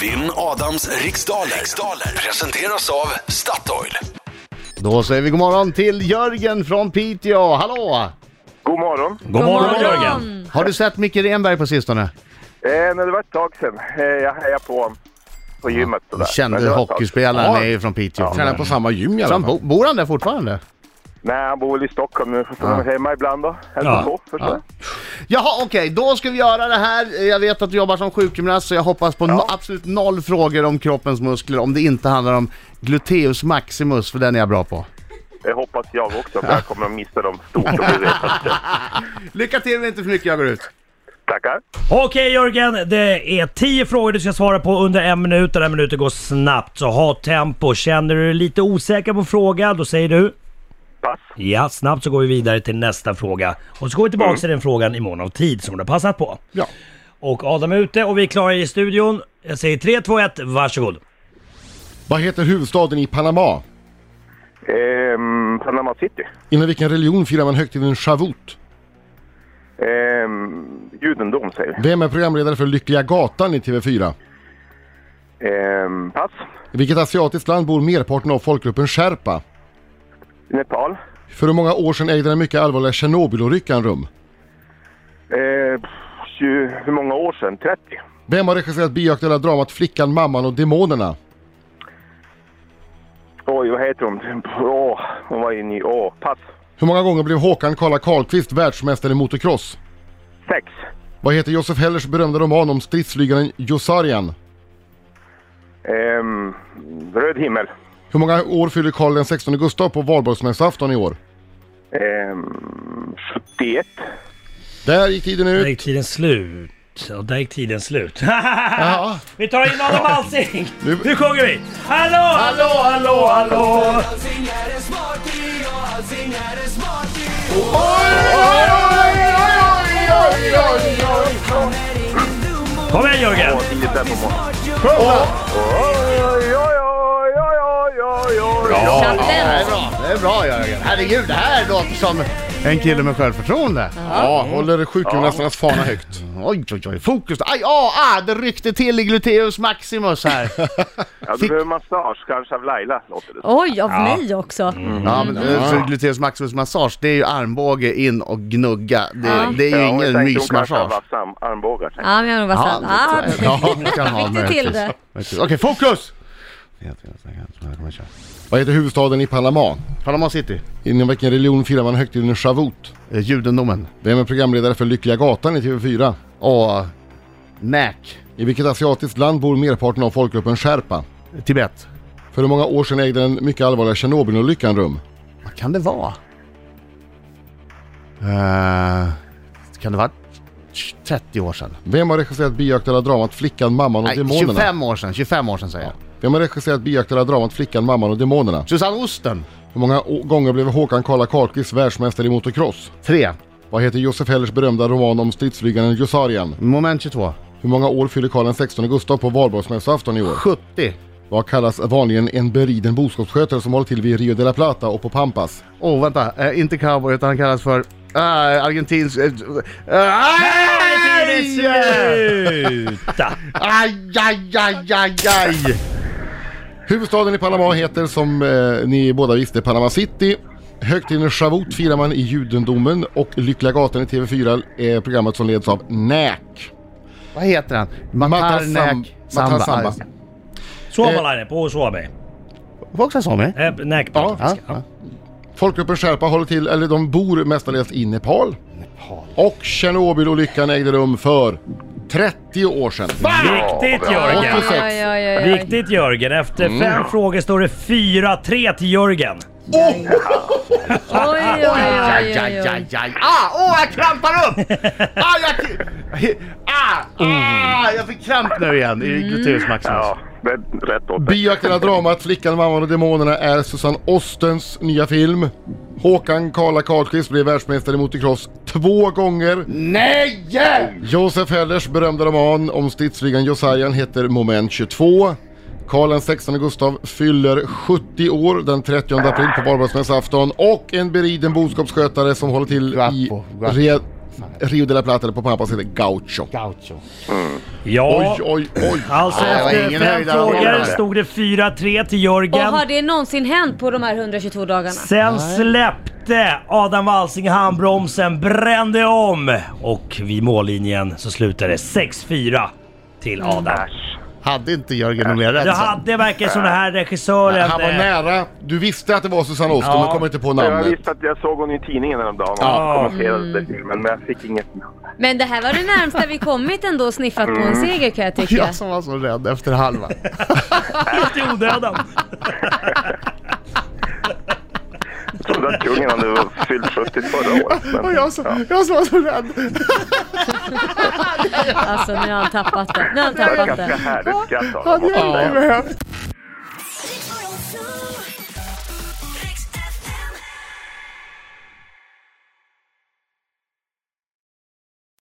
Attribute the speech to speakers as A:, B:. A: Vinn Adams riksdaler. riksdaler presenteras av Statoil.
B: Då säger vi god morgon till Jörgen från Piteå. Hallå!
C: God morgon.
D: God morgon
E: morgon.
D: Jörgen!
B: Har du sett Micke Renberg på sistone?
C: Eh, nej, det var ett tag sedan. Eh, jag hejade på honom på gymmet.
B: Den
C: sådär. Men
B: kände
C: det var ett tag sedan.
B: hockeyspelaren
E: Ja.
B: är ju från Piteå.
E: Tränar på samma gym i
B: Så
E: alla
B: han bo,
E: fall.
B: bor han där fortfarande?
C: Nej, han bor väl i Stockholm nu. Så får han hemma ibland då. Hälsa
D: Ja.
C: på, förstår jag.
B: Jaha okej, då ska vi göra det här. Jag vet att du jobbar som sjukgymnast så jag hoppas på no, absolut noll frågor om kroppens muskler om det inte handlar om gluteus maximus för den är jag bra på.
C: Det hoppas jag också, för jag kommer att missa dem stort om du vet.
B: Lycka till men inte för mycket jag går ut.
C: Tackar.
D: Okej Jörgen, det är 10 frågor du ska svara på under en minut. Den här minuten går snabbt, så ha tempo. Känner du dig lite osäker på frågan, då säger du?
C: Pass.
D: Ja, snabbt så går vi vidare till nästa fråga. Och så går vi tillbaka till den frågan i mån av tid som du har passat på.
E: Ja.
D: Och Adam är ute och vi är klara i studion. Jag säger 3, 2, 1, varsågod.
E: Vad heter huvudstaden i Panama?
C: Ehm, Panama City.
E: Inom vilken religion firar man högtiden Shavuot?
C: Ehm, judendom säger vi.
E: Vem är programledare för Lyckliga Gatan i TV4?
C: Ehm, pass.
E: I vilket asiatiskt land bor merparten av folkgruppen sherpa?
C: Nepal.
E: För hur många år sedan ägde den mycket allvarliga Tjernobylolyckan rum?
C: Ehm, tju- hur många år sedan? 30?
E: Vem har regisserat bioaktuella dramat Flickan, mamman och demonerna?
C: Oj, vad heter hon? Åh, hon var inne i... Åh, pass.
E: Hur många gånger blev Håkan Karla Karlqvist världsmästare i motocross?
C: Sex.
E: Vad heter Josef Hellers berömda roman om stridsflygaren Josarian?
C: Ehm, röd himmel.
E: Hur många år fyller Karl den 16 Gustav på valborgsmässoafton i år?
C: Ehm, 71.
E: Där gick tiden
D: Där
E: ut.
D: gick tiden slut. Ja, där gick tiden slut.
E: Ja.
D: vi tar in Adam Alsing!
E: Nu-
D: Nu... sjunger vi! Hallå, hallå, hallå, hallå! Kom igen Jörgen!
C: Åh, tidigt där på morgonen.
B: Oj, oj, oj, oj, oj, oj, oj, oj. Bra!
E: Ja,
B: Ja, det är bra, det är bra Jörgen. Herregud, det här låter som en kille med självförtroende.
E: ja håller sjukgymnasternas fana högt.
B: Oj, oj, oj, fokus! Aj, ah, ah, det ryckte till i gluteus maximus här.
C: Ja, du behöver massage, kanske av Laila, låter det som.
F: Oj, av mig också.
B: Ja, men eh, så gluteus maximus massage, det är ju armbåge in och gnugga. Det, det är ju
C: hon
B: ingen
C: tänkte hon kanske
B: mysmassage.
C: har sam- armbågar. tänkte
F: Ja, men jag har nog varit såhär, ah,
B: lite- ja, det kan ha,
F: fick du till det.
B: möjligtvis. Okej, fokus!
E: Vad heter huvudstaden i Panama?
B: Panama City,
E: Inom vilken religion firar man högtiden Shavuot?
B: eh, judendomen
E: Vem är programledare för Lyckliga Gatan i TV4?
B: och eh, Näk,
E: I vilket asiatiskt land bor merparten av folkgruppen sherpa?
B: Tibet.
E: För hur många år sedan ägde den mycket allvarliga Tjernobylolyckan rum?
B: Vad kan det vara? Eh, kan det vara 30 år sedan?
E: Vem har regisserat bioaktuella dramat Flickan, mamman och
B: Nej,
E: demonerna?
B: 25 år sedan, 25 år sedan säger jag.
E: Vem har regisserat bioaktuella dramat Flickan, mamman och demonerna?
B: Susanne Osten,
E: Hur många å- gånger blev Håkan Karla Karlqvist världsmästare i motocross?
B: 3.
E: Vad heter Josef Hellers berömda roman om stridsflygaren Josarian?
B: Moment 22.
E: Hur många år fyller Karl XVI Gustav på valborgsmässoafton i år?
B: 70.
E: Vad kallas vanligen en beriden boskapsskötare som håller till vid Rio de la Plata och på Pampas?
B: Åh, oh, vänta. Eh, inte cowboy, utan han kallas för... Uh, Argentins... eh,
D: Där är tiden
B: aj!
D: slut!
B: Aj, aj, aj, aj, aj!
E: Huvudstaden i Panama heter som eh, ni båda visste Panama City. Högtiden Shavuot firar man i judendomen och Lyckliga gatan i TV4 är programmet som leds av NÄK.
B: Vad heter han?
E: Matar
B: Matar
E: Sam-
B: Näk
E: Matar
B: Samba.
E: Samba.
B: Samba.
D: Suomalainen puhuu suomea.
B: Var också sami?
D: Äh, nej,
E: Ja.
D: ja.
B: Ja.
E: Folkgruppen sherpa håller till, eller de bor mestadels i Nepal. Och Tjernobylolyckan ägde rum för 30 år sedan.
D: Viktigt Jörgen!
F: Oj, oj, oj, oj, oj.
D: Viktigt Jörgen. Efter fem frågor står det 4-3 till Jörgen.
F: Oj, oj,
B: Aj,
F: oj,
B: aj,
F: oj, oj.
B: aj, aj. Ah, åh, jag krampar upp! Ah, jag... Ah,
E: Mm.
B: ah, jag fick kramp nu igen i gluteus maximus.
C: Ja, det- rätt åt dig.
E: Bioaktuella dramat Flickan, mamman och demonerna är Susanne Ostens nya film. Håkan Karla Karlqvist blev världsmästare i motocross två gånger.
B: Nej!
E: Josef Hellers berömda roman om stridsflygan Josarian heter Moment 22. Karl XVI Gustav fyller 70 år den 30 april på valborgsmässoafton och en beriden boskapsskötare som håller till i
B: Guapo, guapo.
E: Ria- Rio de la Plata eller på Pampas heter Gaucho.
B: Gaucho.
D: Ja.
E: Oj, oj, oj.
D: Alltså
B: Nej, det var
D: efter
B: ingen
D: fem
B: höjdare på
D: frågor
B: den.
D: stod det 4-3 till
F: Och
D: Jörgen.
F: har det någonsin hänt på de här 122 dagarna?
D: Sen släppte Adam Alsing handbromsen, brände om och vid mållinjen så slutade det 6-4 till Adam.
C: Äsch.
B: Hade inte Jörgen något mer rätt
D: Det
B: sen?
D: hade verkar som den här regissören...
E: Han var
D: eh,
E: nära. Du visste att det var Susanne Osten,
D: Ja.
E: men kommer inte på
C: Jag
E: namnet.
C: visste att jag såg hon i tidningen häromdagen och
E: Ja.
C: kommenterade
B: Mm.
C: den filmen, men jag fick inget.
F: Men det här var det närmsta vi kommit ändå och sniffat på
B: Mm.
F: en seger kan jag tycka.
B: Jag som var så rädd efter halva.
D: Helt i onödan.
C: Jag trodde att kungen hade fyllt 70 förra året.
B: Och
C: Men,
B: jag som, jag som var så rädd.
F: Alltså nu har han tappat det. Nu har han tappat
C: Ganska
F: det.
C: härligt skratt av
B: Hade
C: honom.
B: jag inte behövt.
G: Rick 102.